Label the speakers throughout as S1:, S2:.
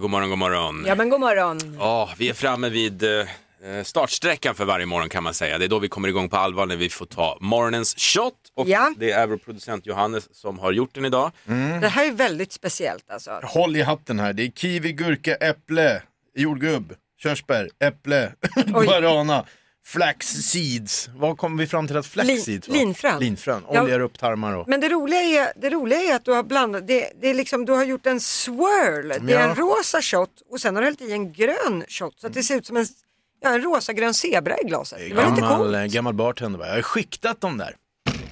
S1: god morgon, god morgon.
S2: Ja, men god morgon.
S1: Ja, vi är framme vid eh, startsträckan för varje morgon kan man säga. Det är då vi kommer igång på allvar när vi får ta morgonens shot. Och
S2: Ja.
S1: det är vår producent Johannes som har gjort den idag.
S3: Mm.
S2: Det här är väldigt speciellt alltså.
S3: Håll i hatten här. Det är kiwi, gurka, äpple, jordgubb, körsbär, äpple, guarana, flax seeds. Vad kommer vi fram till att flax
S2: Lin-
S3: seeds var?
S2: linfrön.
S3: Linfrön.
S2: Ja.
S3: Oljar upp tarmar och...
S2: Men det roliga är, det roliga är att du har blandat, det, det är liksom, du har gjort en swirl. Det är
S3: Ja.
S2: en rosa shot och sen har du hällt i en grön shot så att det ser ut som en, ja, en rosa-grön zebra i glaset. Det var lite
S3: Gammal,
S2: coolt.
S3: eh, gammal bartender va? Jag har skiktat dem där.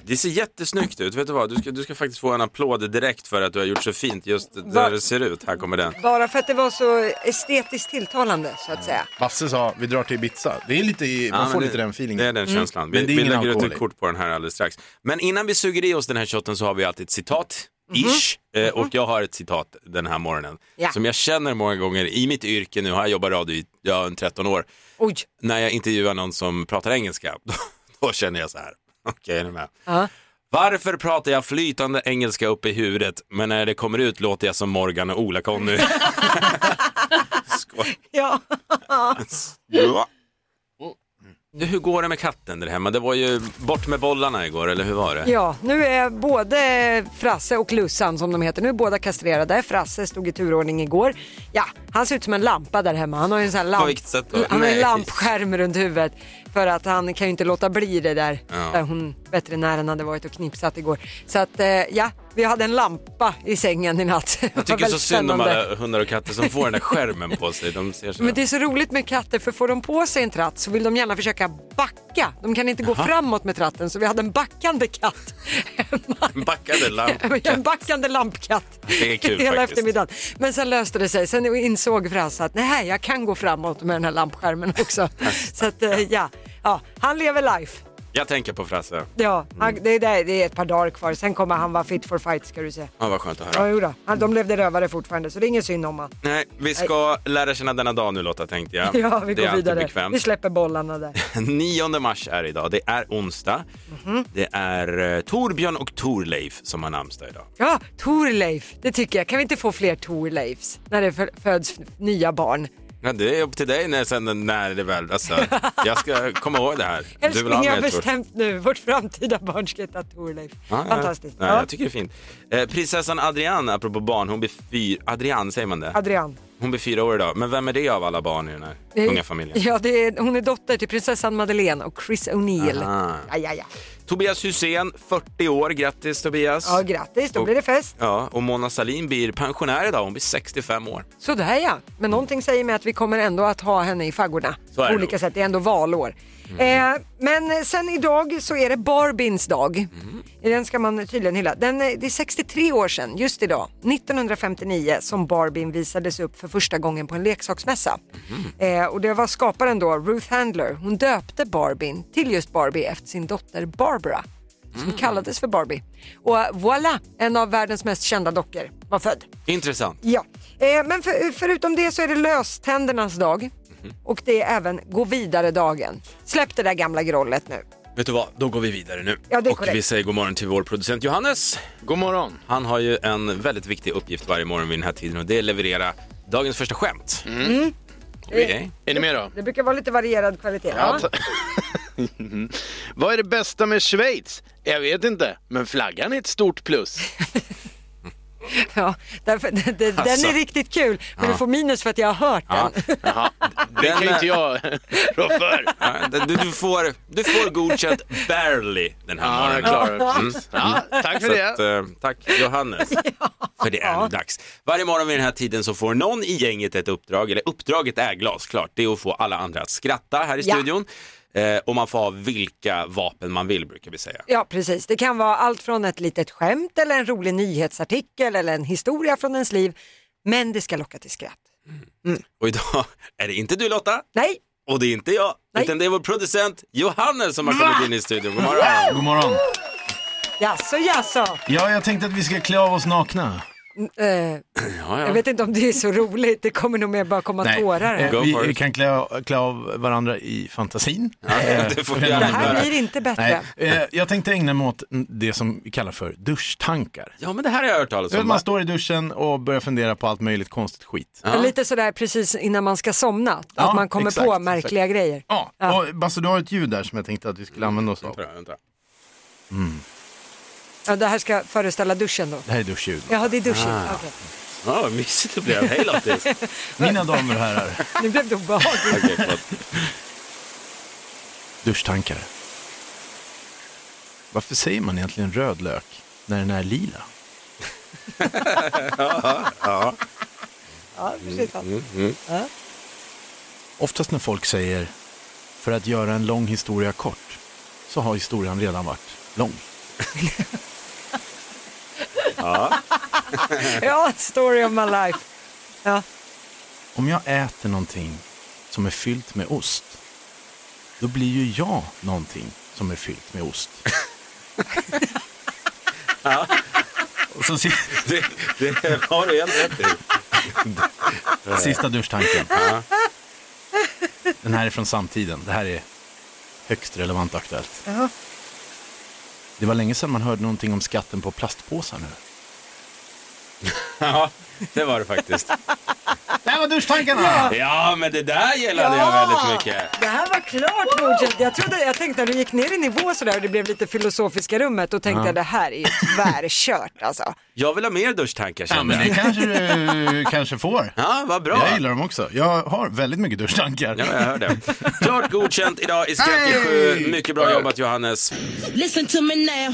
S1: Det ser jättesnyggt ut. Vet du vad? Du ska, du ska faktiskt få en applåd direkt för att du har gjort så fint just där
S2: Va?
S1: det ser ut. Här kommer den.
S3: eh,
S2: Bara för att det var så estetiskt tilltalande så att säga.
S3: Basse sa, vi drar till Ibiza. Det är lite, i- man
S1: Ja,
S3: får
S1: men
S3: lite den feelingen. Mm.
S1: Det är den känslan. Vi,
S3: Men det är
S1: vi
S3: ingen
S1: lägger ut
S3: alkohol
S1: ett
S3: i.
S1: kort på den här alldeles strax. Men innan vi suger i oss den här shotten så har vi alltid ett citat. Ish. Eh, och jag har ett citat den här morgonen.
S2: Mhm. Ja.
S1: Som jag känner många gånger i mitt yrke nu, har jag jobbat radio i ja, en 13 år.
S2: Oj,
S1: När jag intervjuar någon som pratar engelska, då, då känner jag så här. Okej, är ni med?
S2: Ja.
S1: Varför pratar jag flytande engelska upp i huvudet, men när det kommer ut låter jag som Morgan och Ola-Conny? Skoj.
S2: ja.
S1: Ja. Du, Mm. hur går det med katten där hemma? Det var ju bort med bollarna igår, eller hur var det?
S2: ja, nu är både Frasse och Lussan som de heter, nu är båda kastrerade. Frasse stod i turordning igår. Ja, han ser ut som en lampa där hemma. Han har ju en sån här lamp...
S1: På vilket sätt då?
S2: Han har en
S1: Nej.
S2: lampskärm runt huvudet för att han kan ju inte låta bli det där,
S1: Ja.
S2: där hon, veterinären hade varit och knipsat igår. Så att eh, ja, vi hade en lampa i sängen i natt. Det var
S1: Jag tycker så
S2: väldigt
S1: synd om
S2: spännande.
S1: alla hundar och katter som får den där skärmen på sig. De ser så
S2: Men det är så roligt med katter för får de på sig en tratt så vill de gärna försöka backa. De kan inte gå framåt med tratten så vi hade en backande katt hemma.
S1: Backade
S2: En
S1: lampkatt.
S2: backande lampkatt
S1: Det är kul
S2: hela
S1: faktiskt.
S2: eftermiddagen. Men sen löste det sig. Sen insåg Frasse att nej, jag kan gå framåt med den här lampskärmen också. så att, eh, ja. ja, han lever life.
S1: Jag tänker på Frasse.
S2: Ja,
S1: Mm.
S2: han, det, är där, det är ett par dagar kvar. Sen kommer han vara fit for fight ska du se.
S1: Ja, vad skönt att höra.
S2: Ja, jodå. Han, de levde rövare fortfarande så det är ingen synd om han.
S1: Nej, vi ska lära känna denna dag nu Lotta, tänkte jag.
S2: Ja, vi
S1: det
S2: går
S1: är alltid
S2: vidare. Vi
S1: bekvämt.
S2: släpper bollarna där.
S1: 9 mars är det idag. Det är onsdag.
S2: Mhm.
S1: Det är eh, Torbjörn och Torleif som har namnsdag idag.
S2: Ja, Torleif, det tycker jag. Kan vi inte få fler Torleifs när det fö- föds nya barn?
S1: Ja, det är upp till dig när, sen, när det väl, alltså, jag ska komma ihåg det här. Du vill
S2: Älskling,
S1: ha
S2: jag har
S1: mer Tor.
S2: bestämt nu. Vårt framtida barn ska heta Torleif.
S1: Ja, ja.
S2: Fantastiskt.
S1: Ja,
S2: Ja.
S1: Jag tycker det är fint. Eh, prinsessan Adrian, apropå barn, hon blir fyra, Adrian säger man det?
S2: Adrian.
S1: Hon blir fyra år idag. Men vem är det av alla barn i den här unga familjen?
S2: Ja, det är, hon är dotter till prinsessan Madeleine och Chris O'Neill.
S1: Ah.
S2: Ja, ja, ja.
S1: Tobias Hysén, 40 år. Grattis Tobias!
S2: ja, grattis, då
S1: Och-
S2: blir det fest.
S1: Ja, och Mona Sahlin blir pensionär idag. Hon blir 65 år.
S2: Sådär ja, men någonting säger mig att vi kommer ändå att ha henne i faggorna.
S1: Så är
S2: På
S1: det
S2: olika
S1: nog. Mm.
S2: sätt, det är ändå valår. Eh, men sen idag så är det Barbins dag.
S1: Mm.
S2: Den ska man tydligen hylla. Den, eh, det är 63 år sedan, just idag, 1959, som Barbin visades upp för första gången på en leksaksmässa.
S1: Mm.
S2: Eh, och det var skaparen då, Ruth Handler. Hon döpte Barbin till just Barbie efter sin dotter Barbara. Som
S1: Mm.
S2: kallades för Barbie. Och eh, voilà, en av världens mest kända dockor var född.
S1: Intressant.
S2: Ja, eh, men för, förutom det så är det löständernas dag
S1: Mhm.
S2: och det är även gå vidare-dagen. Släpp det där gamla grollet nu.
S1: Vet du vad, då går vi vidare nu.
S2: Ja, det är
S1: och
S2: korrekt.
S1: vi säger god morgon till vår producent Johannes.
S3: God morgon.
S1: Han har ju en väldigt viktig uppgift varje morgon vid den här tiden och det är att leverera dagens första skämt. Mm. Okej.
S3: Är ni med då?
S2: Det brukar vara lite varierad kvalitet.
S3: Ja,
S2: va?
S3: ta- Vad är det bästa med Schweiz? Jag vet inte, men flaggan är ett stort plus.
S2: ja, därför, det, det,
S1: Alltså.
S2: Den är riktigt kul, men du får minus för att jag har hört
S1: Ja.
S2: den.
S3: Jaha, det kan ju inte jag rå för.
S1: Ja, Du, du, får, du får godkänt barely den här
S3: Ja,
S1: morgonen.
S3: jag klarar det. Ja, tack för
S1: Mm. Så att,
S3: det.
S1: eh, tack Johannes, för det är nu dags. Varje morgon vid den här tiden så får någon i gänget ett uppdrag, eller uppdraget är glasklart, det är att få alla andra att skratta här i
S2: Ja.
S1: studion. Eh, och man får ha vilka vapen man vill brukar vi säga.
S2: Ja, precis. Det kan vara allt från ett litet skämt eller en rolig nyhetsartikel eller en historia från ens liv. Men det ska locka till skratt.
S1: Och idag är det inte du Lotta,
S2: Nej,
S1: och det är inte jag,
S2: Nej.
S1: utan det är vår producent Johannes som har kommit in i studion. God morgon!
S3: God morgon.
S2: jaså jaså.
S3: Ja, jag tänkte att vi ska klä av oss nakna.
S2: Eh,
S1: Ja, ja.
S2: jag vet inte om det är så roligt, det kommer nog mer bara komma tårar. här.
S1: Go
S4: eh, vi,
S1: for it.
S4: vi kan klä, av- klä av varandra i fantasin.
S1: Ja, det får vi
S2: Det
S1: gärna
S2: här
S1: göra.
S2: blir inte bättre.
S4: Nej, eh, jag tänkte ägna mig åt det som vi kallar för duschtankar.
S1: Ja, men det här har jag hört talas
S4: Du vet,
S1: om.
S4: man står i duschen och börjar fundera på allt möjligt konstigt skit.
S1: Ja.
S2: Lite sådär precis innan man ska somna,
S4: Ja,
S2: att man kommer
S4: exakt,
S2: på märkliga grejer.
S4: Ja, och Basse du har ett ljud där som jag tänkte att vi skulle använda oss av.
S1: Vänta, vänta.
S2: Ja, det här ska föreställa duschen då.
S4: Det här är duschljud.
S2: Jaha, det är duschen.
S4: Ah.
S2: Okej.
S1: Ja, vad mysigt det blev. Hej Lottis.
S4: Mina damer och herrar,
S2: Nu blev det
S4: Mm.
S2: obehagligt.
S1: Okej, förlåt.
S4: duschtankar. Varför säger man egentligen röd lök när den är lila?
S2: Ja, precis.
S4: Oftast när folk säger för att göra en lång historia kort så har historien redan varit lång.
S2: Ja, story of my life. Ja.
S4: Om jag äter någonting som är fyllt med ost, då blir ju jag någonting som är fyllt med ost. Och så si-
S1: Det, det har du helt rätt i.
S4: sista duschtanken. Den här är från samtiden. Det här är högst relevant och aktuellt. Det var länge sedan man hörde någonting om skatten på plastpåsar nu.
S1: Ja, det var det faktiskt.
S4: Det här var duschtankarna!
S1: Ja, men det där gillade jag väldigt mycket.
S2: Det här var klart Bodil. Jag, trodde, jag tänkte när du gick ner i nivå sådär och det blev lite filosofiska rummet, då tänkte jag det här är ju tvärkört alltså.
S1: Jag vill ha mer duschtankar
S4: Ja,
S1: kände
S4: men det
S1: jag.
S4: kanske du eh, kanske får.
S1: Ja, vad bra.
S4: Jag gillar dem också. Jag har väldigt mycket duschtankar.
S1: Ja, jag hör det. Klart godkänt idag i Skratt i sju.
S4: Hej!
S1: Mycket bra jobbat Johannes.
S5: Listen to me now.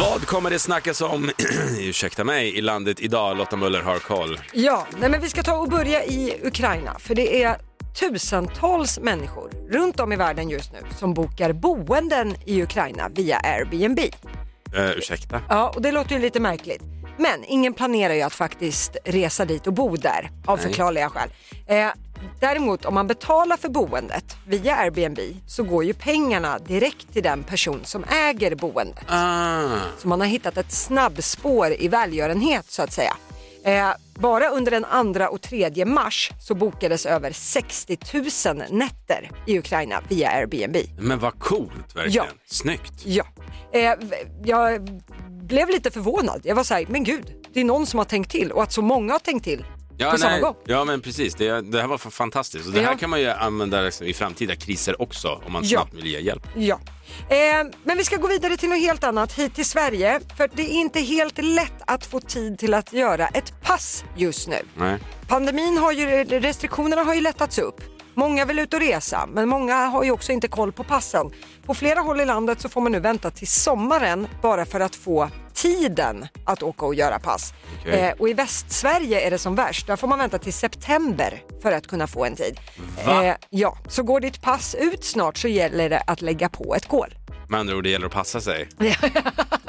S1: Vad kommer det snackas om, ursäkta mig, i landet idag? Lotta Möller har koll.
S2: Ja, nej men vi ska ta och börja i Ukraina för det är tusentals människor runt om i världen just nu som bokar boenden i Ukraina via Airbnb.
S1: Uh, ursäkta?
S2: Ja, och det låter ju lite märkligt. Men ingen planerar ju att faktiskt resa dit och bo där av förklarliga skäl. Eh, däremot om man betalar för boendet via Airbnb så går ju pengarna direkt till den person som äger boendet.
S1: Ah,
S2: Så man har hittat ett snabbspår i välgörenhet så att säga. Eh, bara under den 2 och 3 mars så bokades över 60 000 nätter i Ukraina via Airbnb.
S1: men vad coolt verkligen.
S2: Ja.
S1: Snyggt.
S2: Ja, eh, v- jag blev lite förvånad. Jag var så här, men gud, det är någon som har tänkt till och att så många har tänkt till
S1: Ja,
S2: på samma
S1: nej.
S2: gång.
S1: ja men precis, det, det här var fan fantastiskt. Och det här
S2: Ja.
S1: kan man ju använda liksom, i framtida kriser också om man
S2: Ja.
S1: snabbt vill ge hjälp.
S2: Ja. Eh, men vi ska gå vidare till något helt annat, hit till Sverige. För det är inte helt lätt att få tid till att göra ett pass just nu.
S1: Nej.
S2: Pandemin har ju, restriktionerna har ju lättats upp. Många vill ut och resa, men många har ju också inte koll på passen. På flera håll i landet så får man nu vänta till sommaren bara för att få tiden att åka och göra pass.
S1: Okej.
S2: Eh, och i Västsverige är det som värst. Där får man vänta till september för att kunna få en tid. Eh,
S1: Va?
S2: ja, så går ditt pass ut snart så gäller det att lägga på ett kol.
S1: Med andra ord, det gäller att passa sig.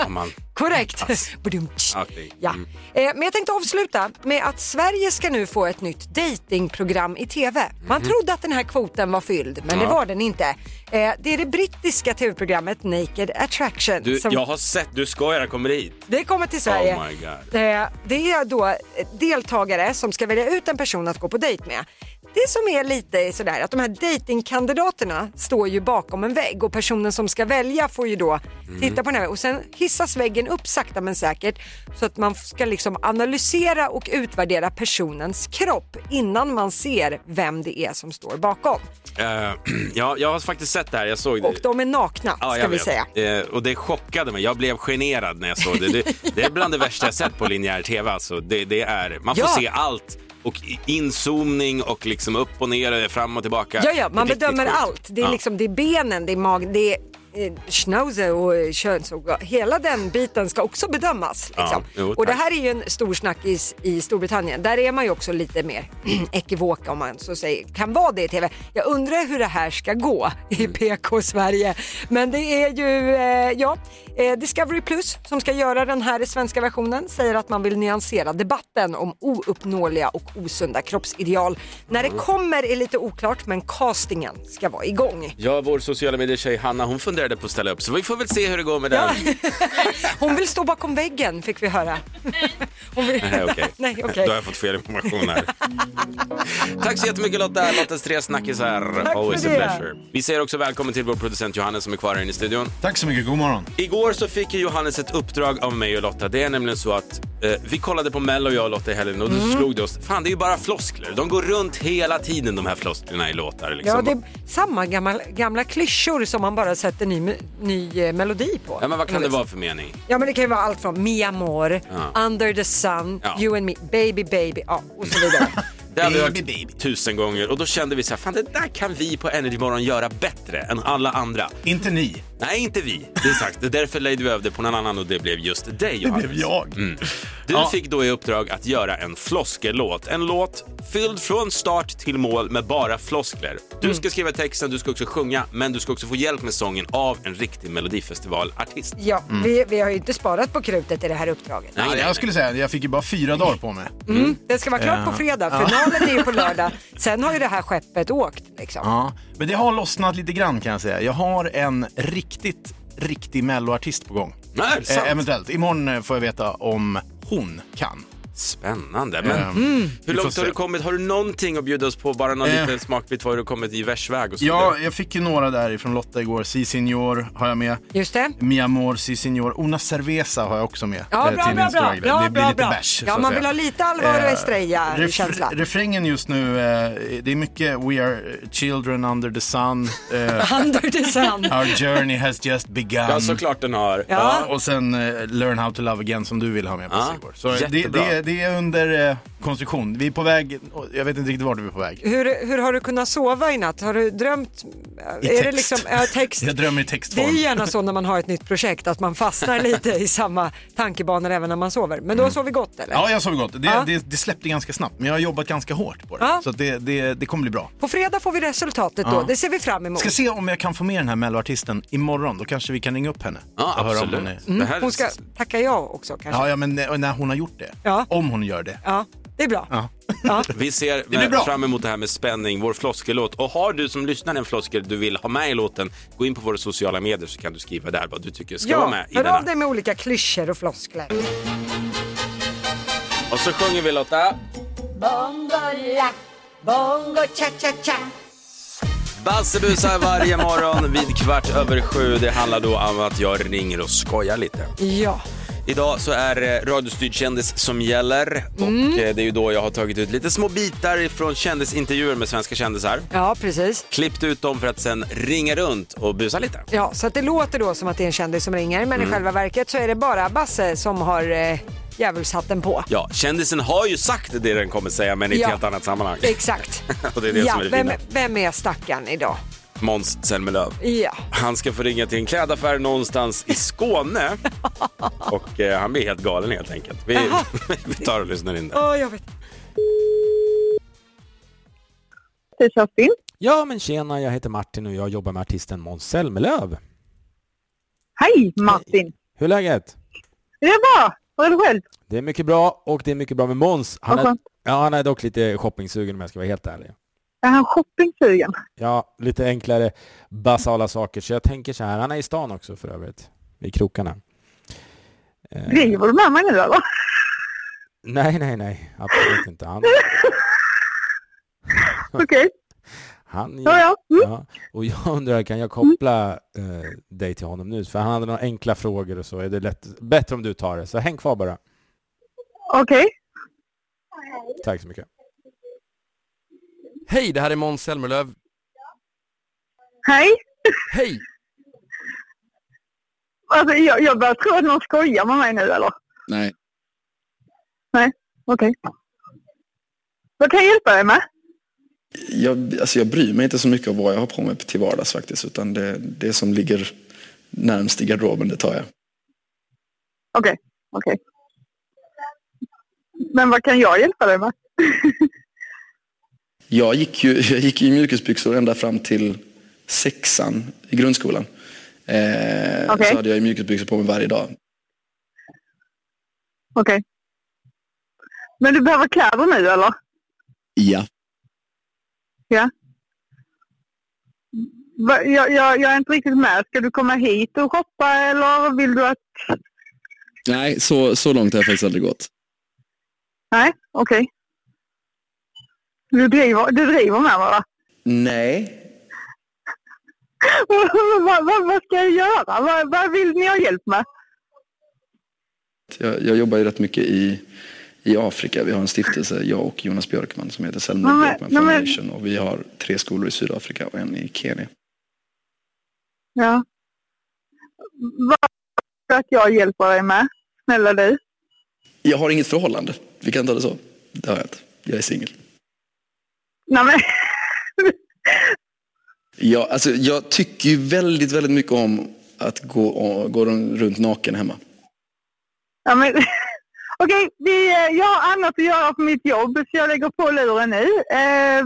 S1: om man...
S2: Korrekt. Badum.
S1: Okej.
S2: Ja.
S1: Mm.
S2: Eh, Men jag tänkte avsluta med att Sverige ska nu få ett nytt datingprogram i TV. Man trodde att den här kvoten var fylld, men det
S1: Mhm. Ja.
S2: var den inte. Eh, Det är det brittiska TV-programmet Naked Attraction.
S1: Du,
S2: som
S1: Jag har sett, du skojar, jag kommer hit.
S2: Det kommer till Sverige.
S1: Oh my God.
S2: Eh, Det är då eh, deltagare som ska välja ut en person att gå på dejt med. Det som är lite sådär att de här dejtingkandidaterna står ju bakom en vägg och personen som ska välja får ju då
S1: Mm.
S2: titta på den här och sen hissas väggen upp sakta men säkert så att man ska liksom analysera och utvärdera personens kropp innan man ser vem det är som står bakom.
S1: Eh, ja, jag har faktiskt sett det här, jag såg det.
S2: Och de är nakna
S1: Ja,
S2: ska
S1: jag
S2: vi
S1: vet.
S2: säga.
S1: Eh, och det chockade mig. Jag blev generad när jag såg det. Det, det är bland det värsta jag sett på linjär tv. Alltså. Det, det är, man får
S2: Ja.
S1: se allt. Och i- inzoomning och liksom upp och ner, och fram och tillbaka.
S2: Ja, ja, man
S1: Det är riktigt
S2: bedömer
S1: sjukt.
S2: allt. Det är,
S1: Ja.
S2: liksom, det är benen, det är magen, det är eh, schnauzer och eh, könsorgan. Hela den biten ska också bedömas.
S1: Ja,
S2: Liksom.
S1: jo, tack.
S2: och det här är ju en stor snackis i Storbritannien. Där är man ju också lite mer ekivoka om man så säger, kan vara det i TV. Jag undrar hur det här ska gå i PK-Sverige. Men det är ju, eh, ja, eh, Discovery Plus som ska göra den här svenska versionen säger att man vill nyansera debatten om ouppnåeliga och osunda kroppsideal. När det kommer är lite oklart men castingen ska vara igång.
S1: Ja, vår sociala medier-tjej Hanna hon förlorade på att ställa upp, så vi får väl se hur det går med den.
S2: Hon vill stå bakom väggen fick vi höra. Hon vill...
S1: Nej, okej.
S2: Nej,
S1: Då
S2: okej.
S1: har jag fått fel information här. Tack så jättemycket Lotta, Lottas tre snackisar.
S2: Tack för
S1: Always a
S2: det.
S1: pleasure. Vi säger också välkommen till vår producent Johannes som är kvar här inne i studion.
S4: Tack så mycket, god morgon.
S1: Igår så fick ju Johannes ett uppdrag av mig och Lotta. Det är nämligen så att eh, vi kollade på Mello, jag och Lotta i helgen och då
S2: Mm.
S1: slog det oss. Fan, det är ju bara floskler. De går runt hela tiden de här flosklerna i låtar. Liksom.
S2: Ja, det är samma gamla, gamla klyschor som man bara sätter ny, mu- ny eh, melodi på.
S1: ja, men vad kan det vara för mening?
S2: Ja, men det kan ju vara allt från Mi Amor,
S1: Ja.
S2: Under the Sun,
S1: Ja.
S2: You and Me, Baby Baby ja, och så vidare.
S1: Det har vi hört tusen gånger och då kände vi så här, fan det där kan vi på Energy Morgon göra bättre än alla andra.
S4: Inte ni.
S1: Nej, inte vi. Det är sagt. Det är därför lejde vi över det på någon annan och det blev just dig Johannes.
S4: jag.
S1: Mm. Du
S4: Ja.
S1: fick då i uppdrag att göra en floskellåt. En låt fylld från start till mål med bara floskler. Du ska skriva texten, du ska också sjunga, men du ska också få hjälp med sången av en riktig melodifestivalartist.
S2: ja,
S4: Mm.
S2: vi, vi har ju inte sparat på krutet i det här uppdraget.
S1: Nej,
S4: Ja,
S1: nej,
S4: jag skulle säga, jag fick ju bara fyra dagar på mig.
S2: Mm. Det ska vara klart på
S4: Ja.
S2: fredag, finalen är ju på lördag. Sen har ju det här skeppet åkt liksom.
S4: Ja, men det har lossnat lite grann kan jag säga. Jag har en riktigt, riktig melloartist på gång.
S1: nej. Nej, det är
S4: Eh,
S1: sant.
S4: eventuellt. Imorgon eh, får jag veta om hon kan.
S1: Spännande. Men
S4: Eh,
S1: hur
S4: vi får
S1: långt har
S4: se.
S1: du kommit? Har du någonting att bjuda oss på? Bara någon
S4: Eh.
S1: liten smakbit? Vad har du kommit i versväg och så
S4: Ja, eh,
S1: vidare?
S4: jag fick ju några där ifrån Lotta igår. Si Signor har jag med.
S2: Just det.
S4: Mi amor, si signor. Una cerveza har jag också med.
S2: Ja,
S4: eh,
S2: bra, bra,
S4: till
S2: bra.
S4: Instagram.
S2: bra,
S4: det blir
S2: bra,
S4: lite
S2: bra.
S4: bash. så
S2: Ja,
S4: att
S2: man
S4: säga.
S2: vill ha lite Alvaro
S4: Eh,
S2: Estrella-känsla.
S4: refr- refrängen just nu, eh, det är mycket We are children under the sun, eh,
S2: Under the sun.
S4: our journey has just begun.
S1: Ja, såklart den har.
S2: Ja.
S4: Ja, och sen eh, Learn how to love again som du vill ha med på
S1: Ja,
S4: igår. Så eh, det, det,
S1: jättebra.
S4: är- det är under eh, konstruktion. Vi är på väg, och jag vet inte riktigt vart vi är på väg.
S2: Hur, hur har du kunnat sova i natt? Har du drömt?
S4: I
S2: är det
S4: text.
S2: liksom ja, text?
S4: Jag drömmer i
S2: Det är
S4: textform.
S2: ju gärna så när man har ett nytt projekt att man fastnar lite i samma tankebanor även när man sover. Men då har sovit gott eller?
S4: Mm. Ja, jag sov gott. Det,
S2: Ja.
S4: det, det släppte ganska snabbt, men jag har jobbat ganska hårt på det.
S2: Ja.
S4: Så att det, det, det kommer bli bra.
S2: På fredag får vi resultatet då, det ser vi fram emot.
S4: Ska se om jag kan få med den här melloartisten imorgon. Då kanske vi kan ringa upp henne.
S1: Ja,
S4: och höra om
S1: absolut.
S4: hon är...
S1: Det här
S2: Hon ska tacka ja också kanske.
S4: Ja, ja, men när när hon har gjort det.
S2: Ja.
S4: Om hon gör det.
S2: Ja, det är bra.
S4: Ja.
S1: Vi ser
S4: blir bra.
S1: fram emot det här med spänning, vår floskellåt. Och har du som lyssnar en floskel du vill ha med i låten, gå in på våra sociala medier så kan du skriva där vad du tycker ska vara med i
S2: hör av
S1: denna.
S2: dig med olika klyschor och floskler.
S1: Och så sjunger vi Lotta. Bassebusar varje morgon vid kvart över sju. Det handlar då om att jag ringer och skojar lite.
S2: Ja,
S1: Idag så är det radiostyrd kändis som gäller och
S2: Mm.
S1: eh, det är ju då jag har tagit ut lite små bitar från kändisintervjuer med svenska kändisar.
S2: ja precis.
S1: Klippt ut dem för att sen ringa runt och busa lite.
S2: Ja, så att det låter då som att det är en kändis som ringer men
S4: Mm.
S2: i själva verket så är det bara Basse som har eh, djävulshatten på.
S1: Ja, kändisen har ju sagt det den kommer säga men i ett
S2: Ja.
S1: helt annat sammanhang.
S2: Exakt.
S1: Och det är det
S2: ja,
S1: som är det
S2: vem,
S1: fina.
S2: vem är stackaren idag?
S1: Måns Zelmerlöw.
S2: Ja.
S1: Han ska få ringa till en klädaffär någonstans i Skåne och eh, han blir helt galen helt enkelt. Vi,
S2: Jaha.
S1: vi tar och lyssnar in det.
S2: Åh, jag vet.
S5: till Kerstin.
S6: Ja men tjena, jag heter Martin och jag jobbar med artisten Måns Zelmerlöw.
S5: Hej Martin!
S6: Hur är läget?
S5: Det är bra! Hur är det själv?
S6: Det är mycket bra och det är mycket bra med Måns. Han,
S5: Vad
S6: är,
S5: skönt.
S6: ja, han är dock lite shoppingsugen om jag ska vara helt ärlig.
S5: Är han shoppingsugen?
S6: Ja, lite enklare basala saker. Så jag tänker så här, han är i stan också för övrigt. I krokarna.
S5: Driver du med mig nu eller?
S6: Nej, nej, nej. Absolut inte. Han,
S5: Okej,
S6: han
S5: ja ja. Mm.
S6: Ja, och jag undrar, kan
S2: Mm.
S6: jag koppla eh, dig till honom nu? För han hade några enkla frågor och så. Är det lätt, bättre om du tar det? Så häng kvar bara.
S5: Okej.
S6: Tack så mycket.
S7: Hej, det här är Måns Zelmerlöw.
S5: Hej!
S7: Hej!
S5: Alltså, jag, jag börjar tro att någon skojar med mig nu eller?
S8: Nej.
S5: Nej, okej. Vad kan jag hjälpa dig med?
S8: Jag, alltså jag bryr mig inte så mycket om vad jag har på mig till vardags faktiskt. Utan det, det som ligger närmst i garderoben, det tar jag.
S5: Okej, okej. Men vad kan jag hjälpa dig med?
S8: Jag gick ju, jag gick ju i mjukisbyxor ända fram till sexan i grundskolan. Eh,
S5: Okej.
S8: Så hade jag ju mjukisbyxor på mig varje dag.
S5: Okej. Men du behöver kläder nu eller?
S8: Ja.
S5: Va- Jag, jag, jag är inte riktigt med. Ska du komma hit och shoppa eller vill du att...
S8: Nej, så, så långt har jag faktiskt aldrig gått.
S5: Nej, okej. Du, driver, du driver med mig va?
S8: Nej.
S5: vad, vad, vad ska jag göra? Vad, vad vill ni ha hjälp med?
S8: Jag, jag jobbar ju rätt mycket i, i Afrika. Vi har en stiftelse, jag och Jonas Björkman, som heter Selma
S5: Men-
S8: Björkman
S5: men-
S8: Foundation. Och vi har tre skolor i Sydafrika och en i Kenya.
S5: Ja. Vad ska att jag hjälper dig med? Snälla du.
S8: Jag har inget förhållande. Vi kan ta det så. Det har jag inte. Jag är singel.
S5: Nej, men...
S8: Jag, alltså, jag tycker ju väldigt, väldigt mycket om att gå, gå runt naken hemma.
S5: Ja, men... Okej, vi, eh, jag har annat att göra på mitt jobb så jag lägger på luren nu. Eh...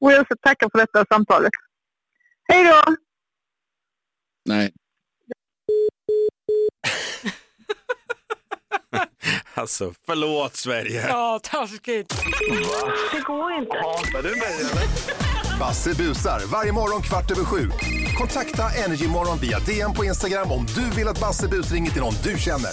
S5: Och jag ska tacka för detta samtalet. Hej då!
S8: Nej,
S1: Alltså, förlåt Sverige.
S2: Ja, taskigt.
S9: Basse busar varje morgon kvart över sju. Kontakta Energymorgon via DM på Instagram om du vill att Basse bus ringer till någon du känner.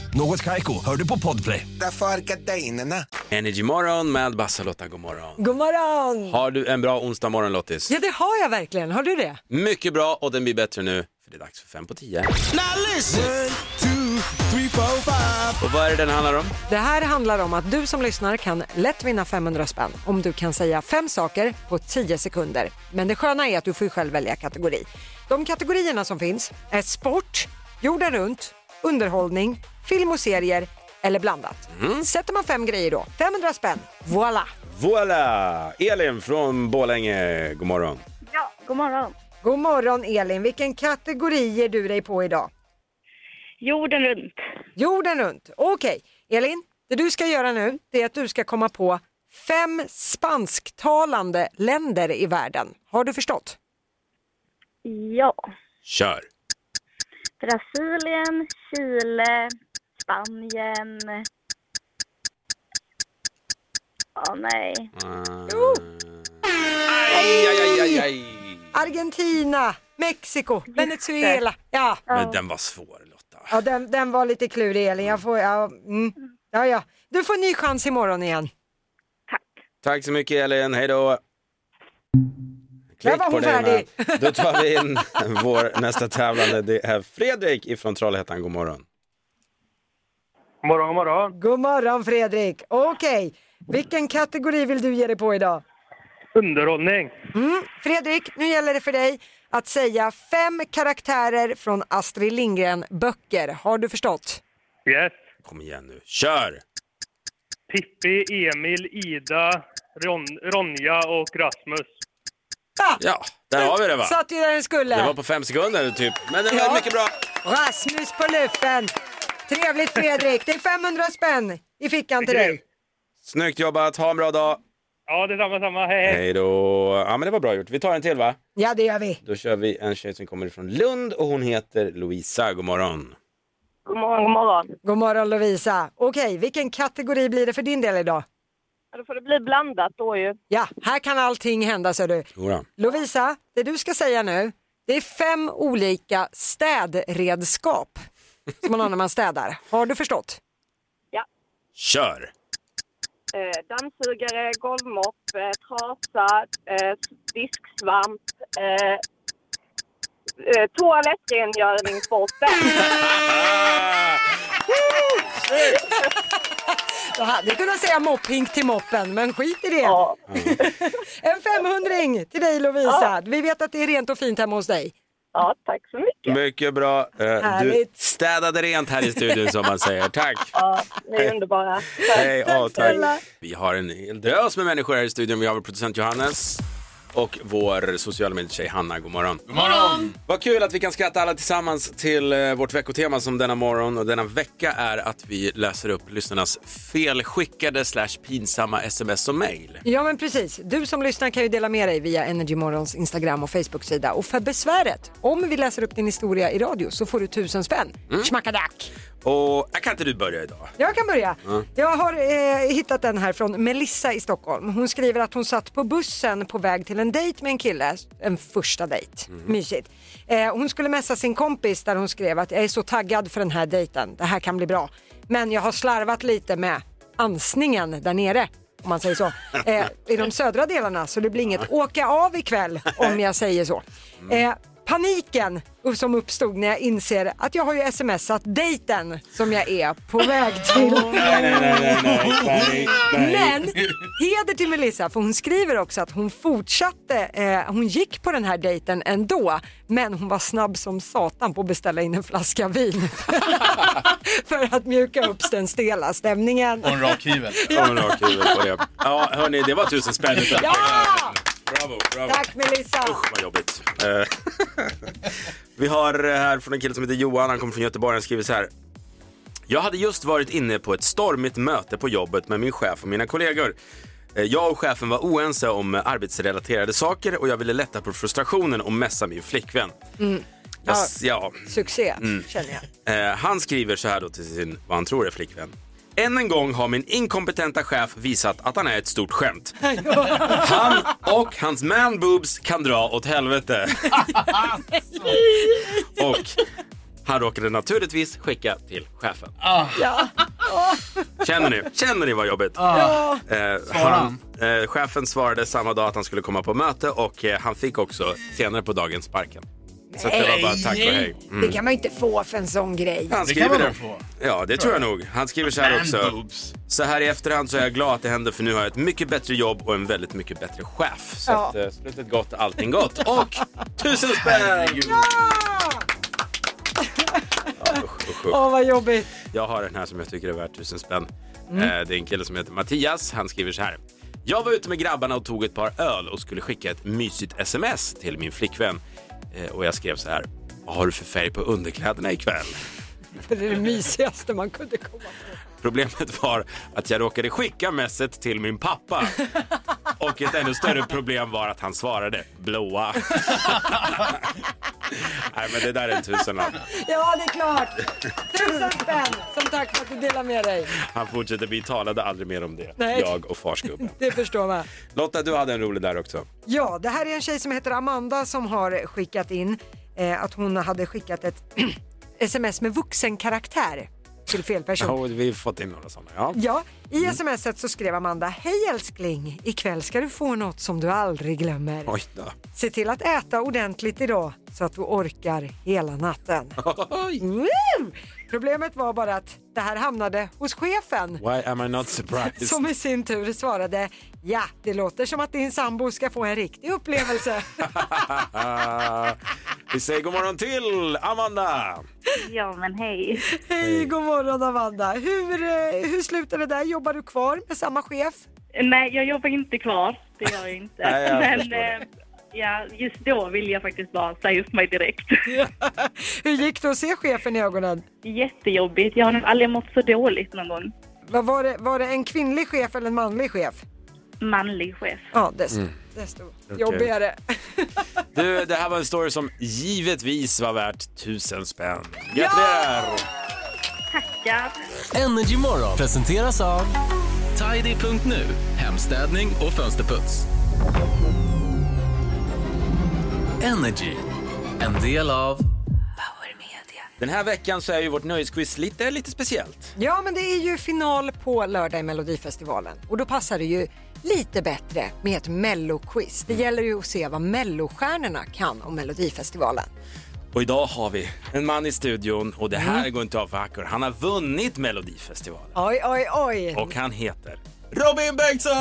S10: Något Kaiko, hör du på Podplay.
S9: Därför är gardinerna.
S1: Energy morgon med Bassa Lotta, god morgon.
S2: God morgon!
S1: Har du en bra onsdag morgon Lottis?
S2: Ja, det har jag verkligen. Har du det?
S1: Mycket bra och den blir bättre nu för det är dags för fem på tio. Och vad är det den handlar om?
S2: Det här handlar om att du som lyssnar kan lätt vinna 500 spänn om du kan säga fem saker på 10 sekunder. Men det sköna är att du får ju själv välja kategori. De kategorierna som finns är sport, jorden runt, underhållning, film och serier eller blandat.
S1: Mm.
S2: Sätter man fem grejer då, 500 spänn, voilà!
S1: Voila! Elin från Borlänge, god morgon.
S5: Ja, god morgon.
S2: God morgon Elin, vilken kategori ger du dig på idag?
S5: Jorden runt.
S2: Jorden runt. Okej, Elin, det du ska göra nu det är att du ska komma på fem spansktalande länder i världen. Har du förstått?
S5: Ja.
S1: Kör!
S5: Brasilien, Chile, Spanien. Ja, nej.
S1: Jo! Aj, aj, aj, aj, aj.
S2: Argentina, Mexiko, Venezuela. Ja,
S1: Men den var svår Lotta.
S2: ja den, den var lite klurig Elin. Jag får, ja, mm. ja, ja. Du får en ny chans imorgon igen.
S1: Tack så mycket Elin, hej då!
S2: Där var hon
S1: dig,
S2: färdig.
S1: Anna. Då tar vi in vår nästa tävlande. Det är Fredrik ifrån Trollhättan, god morgon.
S10: Morgon, morgon.
S2: God morgon Fredrik. Okej, vilken kategori vill du ge dig på idag?
S10: Underhållning.
S2: Mm. Fredrik, nu gäller det för dig att säga fem karaktärer från Astrid Lindgren-böcker. Har du förstått?
S10: Yes.
S1: Kom igen nu, kör!
S10: Pippi, Emil, Ida, Ronja och Rasmus.
S1: Ja, där har vi det va?
S2: Satt ju där den skulle.
S1: Det var på fem sekunder typ, men det var
S2: eh, Ja.
S1: mycket bra.
S2: Rasmus på luffen. Trevligt Fredrik, det är 500 spänn i fickan till dig.
S1: Snyggt jobbat, ha en bra dag.
S10: Ja, detsamma, samma. Hej,
S2: Eh.
S1: Hej då. Ja men det var bra gjort. Vi tar en till va?
S2: Ja det gör vi.
S1: Då kör vi en tjej som kommer från Lund och hon heter Louisa. God morgon.
S5: God morgon, god morgon.
S2: God morgon Lovisa. Okej, vilken kategori blir det för din del idag?
S5: Ja, Då får det bli blandat då ju.
S2: Ja, här kan allting hända så du.
S1: Jodå.
S2: Lovisa, det du ska säga nu, det är fem olika städredskap som man har när man städar. Har du förstått?
S1: Kör!
S5: Eh, dammsugare, golvmopp, eh, trasa, eh, disksvamp, eh, eh, toalettrengöringsborste.
S2: Ah! Jag hade kunnat säga mopphink till moppen, men skit i det.
S5: Ja.
S2: En 500 till dig Lovisa. Vi vet att det är rent och fint hemma hos dig.
S5: ja, tack så mycket.
S1: Mycket bra. Eh, Du
S2: Härligt.
S1: städade rent här i studion som man säger. Tack!
S5: Ja, ni är underbara.
S1: Hej, ja, tack.
S5: snälla.
S1: Vi har en hel drös med människor här i studion. Vi har vår producent Johannes. och vår sociala medietjej Hanna. God morgon. God
S3: morgon!
S1: Vad kul att vi kan skratta alla tillsammans till eh, vårt veckotema som denna morgon och denna vecka är att vi läser upp lyssnarnas felskickade slash pinsamma sms och mejl.
S2: Ja men precis, du som lyssnar kan ju dela med dig via Energymorgons Instagram och Facebook-sida. Och för besväret, om vi läser upp din historia i radio så får du tusen spänn.
S1: Mm.
S2: Schmackadack!
S1: Och äh, kan inte du börja idag?
S2: Jag kan börja.
S1: Ja.
S2: Jag har eh, hittat den här från Melissa i Stockholm. Hon skriver att hon satt på bussen på väg till en dejt med en kille, en första dejt. Mysigt. Eh, hon skulle messa sin kompis där hon skrev att jag är så taggad för den här dejten, det här kan bli bra. Men jag har slarvat lite med ansningen där nere. Om man säger så. Eh, I de södra delarna så det blir inget åka av ikväll om jag säger så. Eh, paniken som uppstod när jag inser att jag har ju smsat dejten som jag är på väg till. Men heder till Melissa för hon skriver också att hon fortsatte, eh, hon gick på den här dejten ändå men hon var snabb som satan på att beställa in en flaska vin för att mjuka upp den stela stämningen.
S1: Och en rak hyvel. Ja. en rak hyvel på det. Ja, hörni, det var tusen spänn utan.
S2: Ja!
S1: Bravo, bravo.
S2: Tack Melissa!
S1: Vad jobbigt. Eh, Vi har eh, här från en kille som heter Johan, han kommer från Göteborg, han skriver så här. Jag hade just varit inne på ett stormigt möte på jobbet med min chef och mina kollegor. Eh, Jag och chefen var oense om eh, arbetsrelaterade saker och jag ville lätta på frustrationen och messa min flickvän.
S2: Mm.
S1: Jag,
S2: Ja,
S1: s- ja,
S2: succé
S1: Mm.
S2: känner jag.
S1: Eh, han skriver så här då till sin, vad han tror är flickvän. Än en gång har min inkompetenta chef visat att han är ett stort skämt. Han och hans man boobs kan dra åt helvete. Och han råkade naturligtvis skicka till chefen.
S2: Ja.
S1: Känner ni? Känner ni vad jobbigt?
S2: Ja.
S1: Eh, han, eh, chefen svarade samma dag att han skulle komma på möte och eh, han fick också senare på dagen sparken. Så att det var bara tack och hej. Mm.
S2: Det kan man ju inte få för en sån grej.
S1: Han skriver det. Ja, det tror jag nog. Han skriver så här också. Så här i efterhand så är jag glad att det hände för nu har jag ett mycket bättre jobb och en väldigt mycket bättre chef. Så
S2: Ja.
S1: att, eh, slutet gott, allting gott. Och tusen spänn! Usch, usch.
S2: Åh vad jobbigt.
S1: Jag har den här som jag tycker är värd tusen spänn.
S2: Mm.
S1: Eh, Det är en kille som heter Mattias. Han skriver så här. Jag var ute med grabbarna och tog ett par öl och skulle skicka ett mysigt sms till min flickvän. Eh, Och jag skrev så här. Vad har du för färg på underkläderna ikväll?
S2: Det är det mysigaste man kunde komma på.
S1: Problemet var att jag råkade skicka messet till min pappa. Och ett ännu större problem var att han svarade blåa. Nej, men det där är en tusenlapp.
S2: Ja, det är klart. Tusen spänn som tack för att du delar med dig.
S1: Han fortsätter, vi talade aldrig mer om det,
S2: Nej.
S1: jag och farsgubben.
S2: Det förstår man.
S1: Lotta, du hade en rolig där också.
S2: Ja, det här är en tjej som heter Amanda som har skickat in eh, att hon hade skickat ett sms med vuxenkaraktär till fel person.
S1: Ja, vi har fått in några sådana. Ja.
S2: Ja, i smset så skrev Amanda, hej älskling, ikväll ska du få något som du aldrig glömmer.
S1: Oj då.
S2: Se till att äta ordentligt idag så att du orkar hela natten. Woo! Problemet var bara att det här hamnade hos chefen.
S1: Why am I not surprised?
S2: Som i sin tur svarade, ja det låter som att din sambo ska få en riktig upplevelse.
S1: vi säger god morgon till Amanda.
S11: Ja, men hej.
S2: Hej, god morgon Amanda. Hur, eh, hur slutar det där? Jobbar du kvar med samma chef?
S11: Nej, jag jobbar inte kvar. Det gör jag inte.
S2: Nej, jag
S11: men
S2: förstår det.
S11: eh, ja, just då vill jag faktiskt bara säga upp mig direkt.
S2: Hur gick det att se chefen i ögonen?
S11: Jättejobbigt. Jag har nog aldrig mått så dåligt någon gång.
S2: Vad var, det, var det en kvinnlig chef eller en manlig chef?
S11: Manlig chef.
S2: Ja, desto,
S1: Mm.
S2: desto
S1: Okej.
S2: jobbigare.
S1: Du, det här var en story som givetvis var värt tusen spänn. Gratulerar!
S11: Tackar.
S12: Energy Morgon presenteras av Tidy.nu, hemstädning och fönsterputs. Energy, en del av
S1: Den här veckan så är ju vårt nöjesquiz lite, lite speciellt.
S2: Ja, men det är ju final på lördag i Melodifestivalen och då passar det ju lite bättre med ett melloquiz.
S13: Mm.
S2: Det gäller ju att se vad mellostjärnorna kan om Melodifestivalen.
S1: Och idag har vi en man i studion och det här
S13: Mm.
S1: går inte av för hackor. Han har vunnit Melodifestivalen
S2: Oj, oj, oj!
S1: och han heter Robin Bengtsson!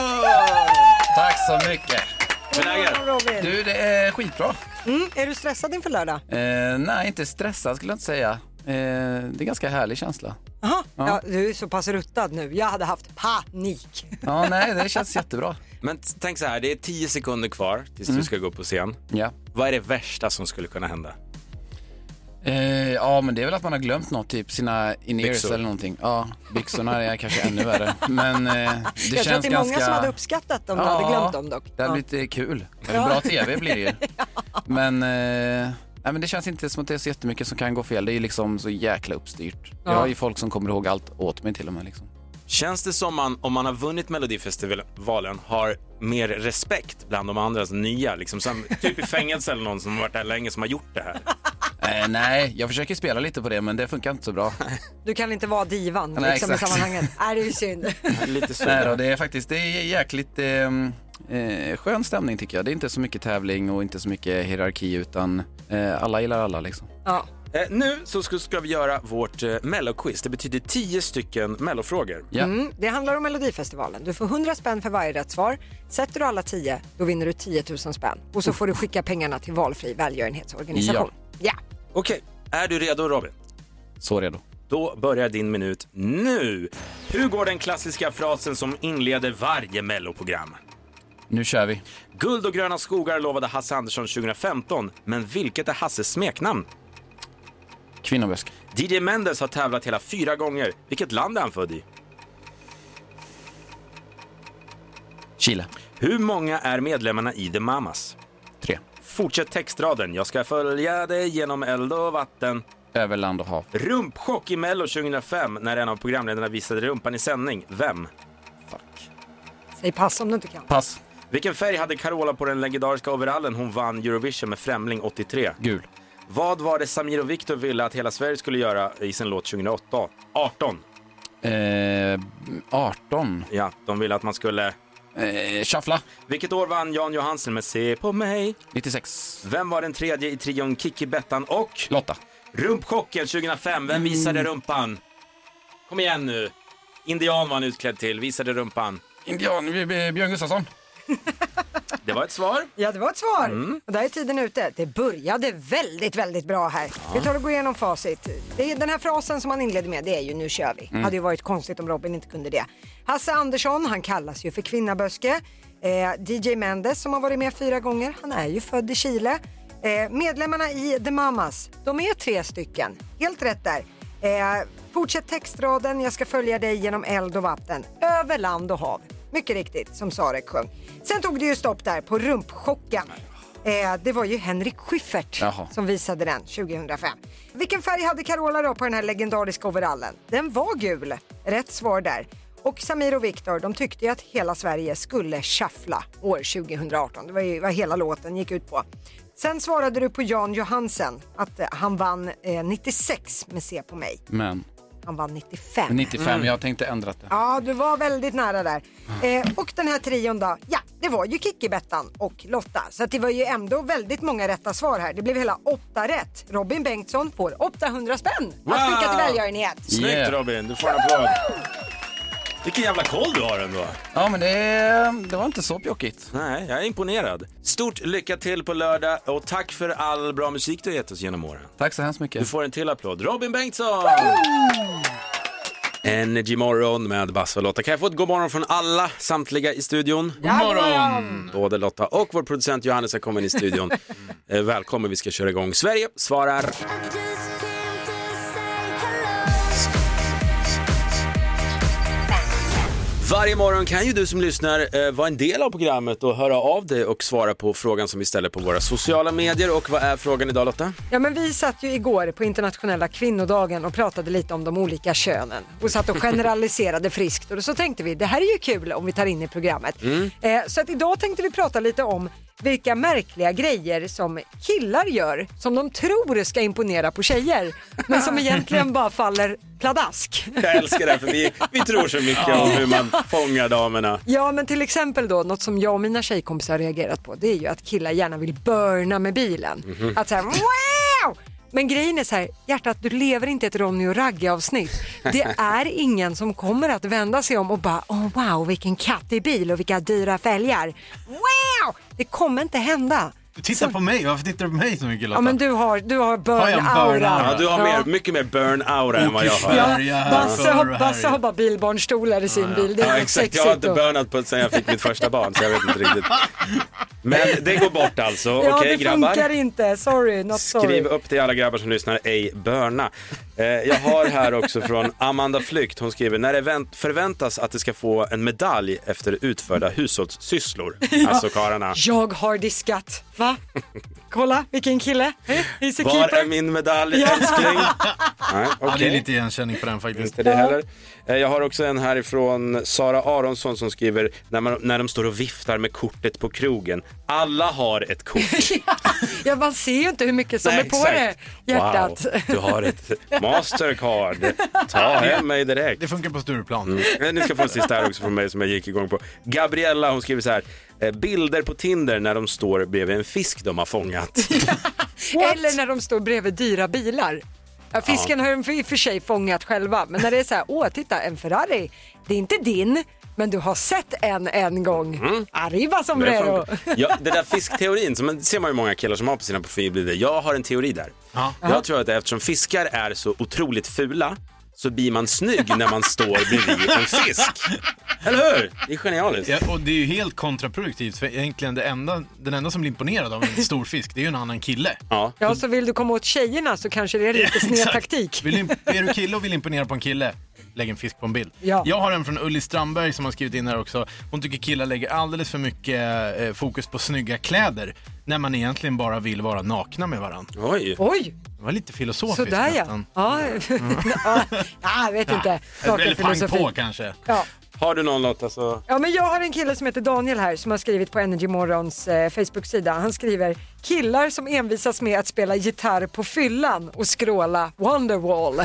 S13: Tack så mycket.
S1: Hur är läget?
S2: Robin.
S13: Du, det är skitbra.
S2: Mm, är du stressad inför lördag?
S13: Eh, nej, inte stressad skulle jag inte säga. Eh, det är en ganska härlig känsla.
S2: Jaha,
S13: Ja.
S2: ja. du är så pass ruttad nu. Jag hade haft panik.
S13: Ja, nej, det känns jättebra.
S1: Men t- tänk så här, det är 10 sekunder kvar tills du
S13: Mm.
S1: ska gå upp på scen.
S13: Ja.
S1: Vad är det värsta som skulle kunna hända?
S13: Eh, ja, men det är väl att man har glömt något, typ sina in-ears
S1: Byxor.
S13: eller någonting. Ja, byxorna är kanske ännu värre. Men eh, det känns
S2: jag tror att det är många
S13: ganska...
S2: som hade uppskattat om du
S13: Ja,
S2: hade glömt dem dock.
S13: Det hade
S2: Ja.
S13: blivit eh, kul. Eller
S2: Ja.
S13: bra tv blir det ju. Men, eh, nej, men det känns inte som att det är så jättemycket som kan gå fel. Det är ju liksom så jäkla uppstyrt. Jag
S1: Ja.
S13: har ju folk som kommer ihåg allt åt mig till och med. Liksom.
S1: Känns det som man, om man har vunnit Melodifestivalen, har mer respekt bland de andra nya? Liksom, som, typ i fängelse eller någon som har varit där länge som har gjort det här.
S13: Eh, nej, jag försöker spela lite på det men det funkar inte så bra.
S2: Du kan inte vara divan
S13: Nej,
S2: liksom, i
S13: exakt.
S2: sammanhanget. Nej, det är ju synd.
S1: Lite
S13: Nej då, det är faktiskt det är jäkligt eh, eh, skön stämning tycker jag. Det är inte så mycket tävling och inte så mycket hierarki utan eh, alla gillar alla liksom.
S2: Ja.
S1: Eh, nu så ska, ska vi göra vårt eh, melloquiz. Det betyder 10 stycken mellofrågor.
S2: Mm, det handlar om Melodifestivalen. Du får 100 spänn för varje rätt svar. Sätter du alla 10, då vinner du 10 000 spänn. Och så får du skicka pengarna till valfri välgörenhetsorganisation. Ja.
S1: Okej, är du redo Robin?
S13: Så redo.
S1: Då börjar din minut nu. Hur går den klassiska frasen som inleder varje melloprogram?
S13: Nu kör vi.
S1: Guld och gröna skogar lovade Hasse Andersson 2015, men vilket är Hasses smeknamn?
S13: Kvinnobösk.
S1: DJ Mendes har tävlat hela fyra gånger. Vilket land är han född i?
S13: Chile.
S1: Hur många är medlemmarna i The Mamas?
S13: Tre.
S1: Fortsätt textraden. Jag ska följa dig genom eld och vatten.
S13: Över land och hav.
S1: Rumpchock i Mello 2005 när en av programledarna visade rumpan i sändning. Vem?
S2: Säg pass om du inte kan.
S13: Pass.
S1: Vilken färg hade Carola på den legendariska overallen hon vann Eurovision med Främling 83?
S13: Gul.
S1: Vad var det Samir och Viktor ville att hela Sverige skulle göra i sin låt 2008? 18.
S13: Eh, 18.
S1: Ja, de ville att man skulle...
S13: Eh, shuffla.
S1: Vilket år vann Jan Johansen med Se på mig?
S13: 96.
S1: Vem var den tredje i trion Kikki, Bettan och...
S13: Lotta.
S1: Rumpchocken 2005. Vem visade rumpan? Kom igen nu. Indian var han utklädd till. Visade rumpan.
S13: Indian, eh, Björn Gustafsson.
S1: Det var ett svar.
S2: Ja, det var ett svar.
S1: Mm.
S2: Och där är tiden ute. Det började väldigt, väldigt bra här. Vi tar och går igenom facit. Det är den här frasen som han inledde med, det är ju nu kör vi.
S14: Mm.
S2: hade ju varit konstigt om Robin inte kunde det. Hasse Andersson, han kallas ju för Kvinnaböske. Eh, DJ Mendes som har varit med fyra gånger, han är ju född i Chile. Eh, medlemmarna i The Mamas, de är tre stycken. Helt rätt där. Eh, fortsätt textraden, jag ska följa dig genom eld och vatten, över land och hav. Mycket riktigt, som Sarek sjöng. Sen tog det ju stopp där på rumpchocken. Eh, det var ju Henrik Schyffert
S13: Jaha.
S2: som visade den 2005. Vilken färg hade Carola då på den här legendariska overallen? Den var gul. Rätt svar där. Och Samir och Viktor, de tyckte ju att hela Sverige skulle shuffla år 2018. Det var ju vad hela låten gick ut på. Sen svarade du på Jan Johansen att eh, han vann eh, 96 med Se på mig.
S13: Men.
S2: Han vann 95.
S13: 95, jag tänkte ändra det.
S2: Ja, du var väldigt nära där. Eh, och den här trion då, ja, det var ju Kikki, Bettan och Lotta. Så att det var ju ändå väldigt många rätta svar här. Det blev hela åtta rätt. Robin Bengtsson får 800 spänn att skicka till välgörenhet.
S1: Snyggt Robin, du får en applåd. Vilken jävla koll du har ändå.
S13: Ja, men det, det var inte så pjockigt.
S1: Nej, jag är imponerad. Stort lycka till på lördag och tack för all bra musik du har gett oss genom åren.
S13: Tack så hemskt mycket.
S1: Du får en till applåd. Robin Bengtsson! Energy morgon med Basse och Lotta. Kan jag få ett god morgon från alla, samtliga i studion?
S13: God morgon!
S1: Både Lotta och vår producent Johannes har kommit in i studion. Eh, Välkommen, vi ska köra igång. Sverige svarar. Varje morgon kan ju du som lyssnar eh, vara en del av programmet och höra av dig och svara på frågan som vi ställer på våra sociala medier. Och vad är frågan idag Lotta?
S2: Ja, men vi satt ju igår på internationella kvinnodagen och pratade lite om de olika könen och satt och generaliserade friskt och så tänkte vi det här är ju kul om vi tar in i programmet.
S14: Mm.
S2: Eh, så att idag tänkte vi prata lite om vilka märkliga grejer som killar gör som de tror ska imponera på tjejer men som egentligen bara faller pladask.
S1: Jag älskar det här för vi, vi tror så mycket om hur man fångar damerna.
S2: Ja men till exempel då något som jag och mina tjejkompisar har reagerat på det är ju att killar gärna vill burna med bilen.
S1: Mhm.
S2: Att så här, wow! Men grejen är så här, hjärtat du lever inte ett Ronny och Ragge avsnitt. Det är ingen som kommer att vända sig om och bara oh, wow vilken kattig bil och vilka dyra fälgar. Wow! Det kommer inte hända.
S4: Titta på mig, varför tittar du på mig så mycket Lotta?
S2: Ja men du har, du har
S4: Har jag en
S2: burn-aura.
S1: Ja, du har mer, mycket mer burn-aura än vad jag har.
S2: Ja, Basse har, Basse har bara bilbarnstolar i sin bil. Det är
S1: Ja,
S2: rätt
S1: exakt.
S2: sexigt.
S1: Jag har inte
S2: och-
S1: burnat på sen jag fick mitt första barn, så jag vet inte riktigt. Men det går bort alltså.
S2: Ja,
S1: Okej
S2: det
S1: grabbar.
S2: funkar inte. Sorry, not sorry.
S1: Skriv upp till alla grabbar som lyssnar, ej börna. Eh, jag har här också från Amanda Flykt, hon skriver, när det vänt- förväntas att det ska få en medalj efter utförda hushållssysslor, alltså karlarna.
S2: Ah, Jag har diskat. Va? Kolla, vilken kille. Eh, He's a
S1: Var
S2: keeper.
S1: är min medalj älskling? Nej,
S4: Ja, det
S1: okej.
S4: är lite igenkänning på den faktiskt.
S1: Inte det heller. Eh, Jag har också en härifrån Sara Aronsson som skriver när, man, när de står och viftar med kortet på krogen. Alla har ett kort.
S2: Ja, man ser ju inte hur mycket som
S1: Nej,
S2: är på
S1: exakt.
S2: det. Hjärtat.
S1: Wow, du har ett Mastercard. Ta hem mig direkt.
S4: Det funkar på Stureplan.
S1: Mm. Men Ni ska få en sista här också från mig som jag gick igång på. Gabriella hon skriver så här. eh, Bilder på Tinder när de står bredvid en fisk de har fångat.
S2: Eller när de står bredvid dyra bilar. Ja, fisken har de i och för sig fångat själva, men när det är så här, åh titta en Ferrari, det är inte din, men du har sett en en gång.
S1: Mm.
S2: Arriba sombrero.
S1: Ja, den där fiskteorin, som man- ser man ju många killar som har på sina profilbilder. Jag har en teori där. Jag tror att eftersom fiskar är så otroligt fula så blir man snygg när man står bredvid en fisk. Eller hur? Det är genialiskt.
S4: Ja, och det är ju helt kontraproduktivt för egentligen det enda, den enda som blir imponerad av en stor fisk det är ju en annan kille.
S1: Ja.
S2: Ja, så vill du komma åt tjejerna så kanske det är lite sned
S4: exakt.
S2: taktik.
S4: Vill du, imp- är du kille och vill imponera på en kille, lägg en fisk på en bild.
S2: Ja.
S4: Jag har en från Ulli Strandberg som har skrivit in här också. Hon tycker killar lägger alldeles för mycket eh, fokus på snygga kläder när man egentligen bara vill vara nakna med varandra.
S1: Oj!
S2: Oj!
S4: Det var lite filosofiskt
S2: Sådär ja.
S4: nästan.
S2: Ja, ja. jag vet inte. Klart
S4: Eller
S2: det är
S4: pang
S2: filosofi.
S4: på kanske.
S2: Ja.
S1: Har du någon Lotta så...
S2: Ja, men jag har en kille som heter Daniel här som har skrivit på Energy Morgons eh, Facebook-sida. Han skriver “Killar som envisas med att spela gitarr på fyllan och skråla Wonderwall”.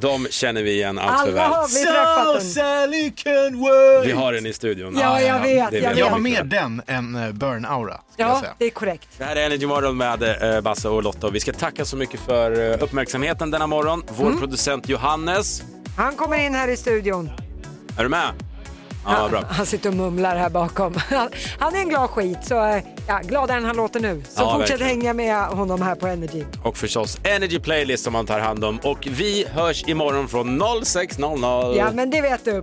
S1: De känner vi igen allt för
S2: Alla
S1: väl.
S2: har vi träffat den.
S4: Sally can work.
S1: Vi har den i studion.
S2: Ja, jag vet,
S1: Det
S2: jag
S1: vet
S2: vet.
S4: Jag
S1: vi.
S4: har mer den än eh, burn-aura. skulle jag
S2: Ja,
S4: säga.
S2: det är korrekt.
S1: Det här är Energy Morgon med eh, Basse och Lotta och vi ska tacka så mycket för eh, uppmärksamheten denna morgon. Vår
S2: Mm.
S1: producent Johannes,
S2: Han kommer in här i studion.
S1: är du med? Ja, bra.
S2: Han sitter och mumlar här bakom. Han- Han är en glad skit, så eh, ja, gladare än han låter nu. Så
S1: Ja,
S2: fortsätt
S1: verkligen.
S2: hänga med honom här på Energy.
S1: Och förstås Energy Playlist som man tar hand om. Och vi hörs imorgon från 06.00.
S2: Ja, men det vet du.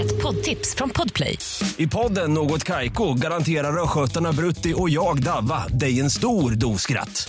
S15: Ett poddtips från Podplay.
S10: I podden Något Kaiko garanterar östgötarna Brutti och jag, Davva, dig en stor dos skratt.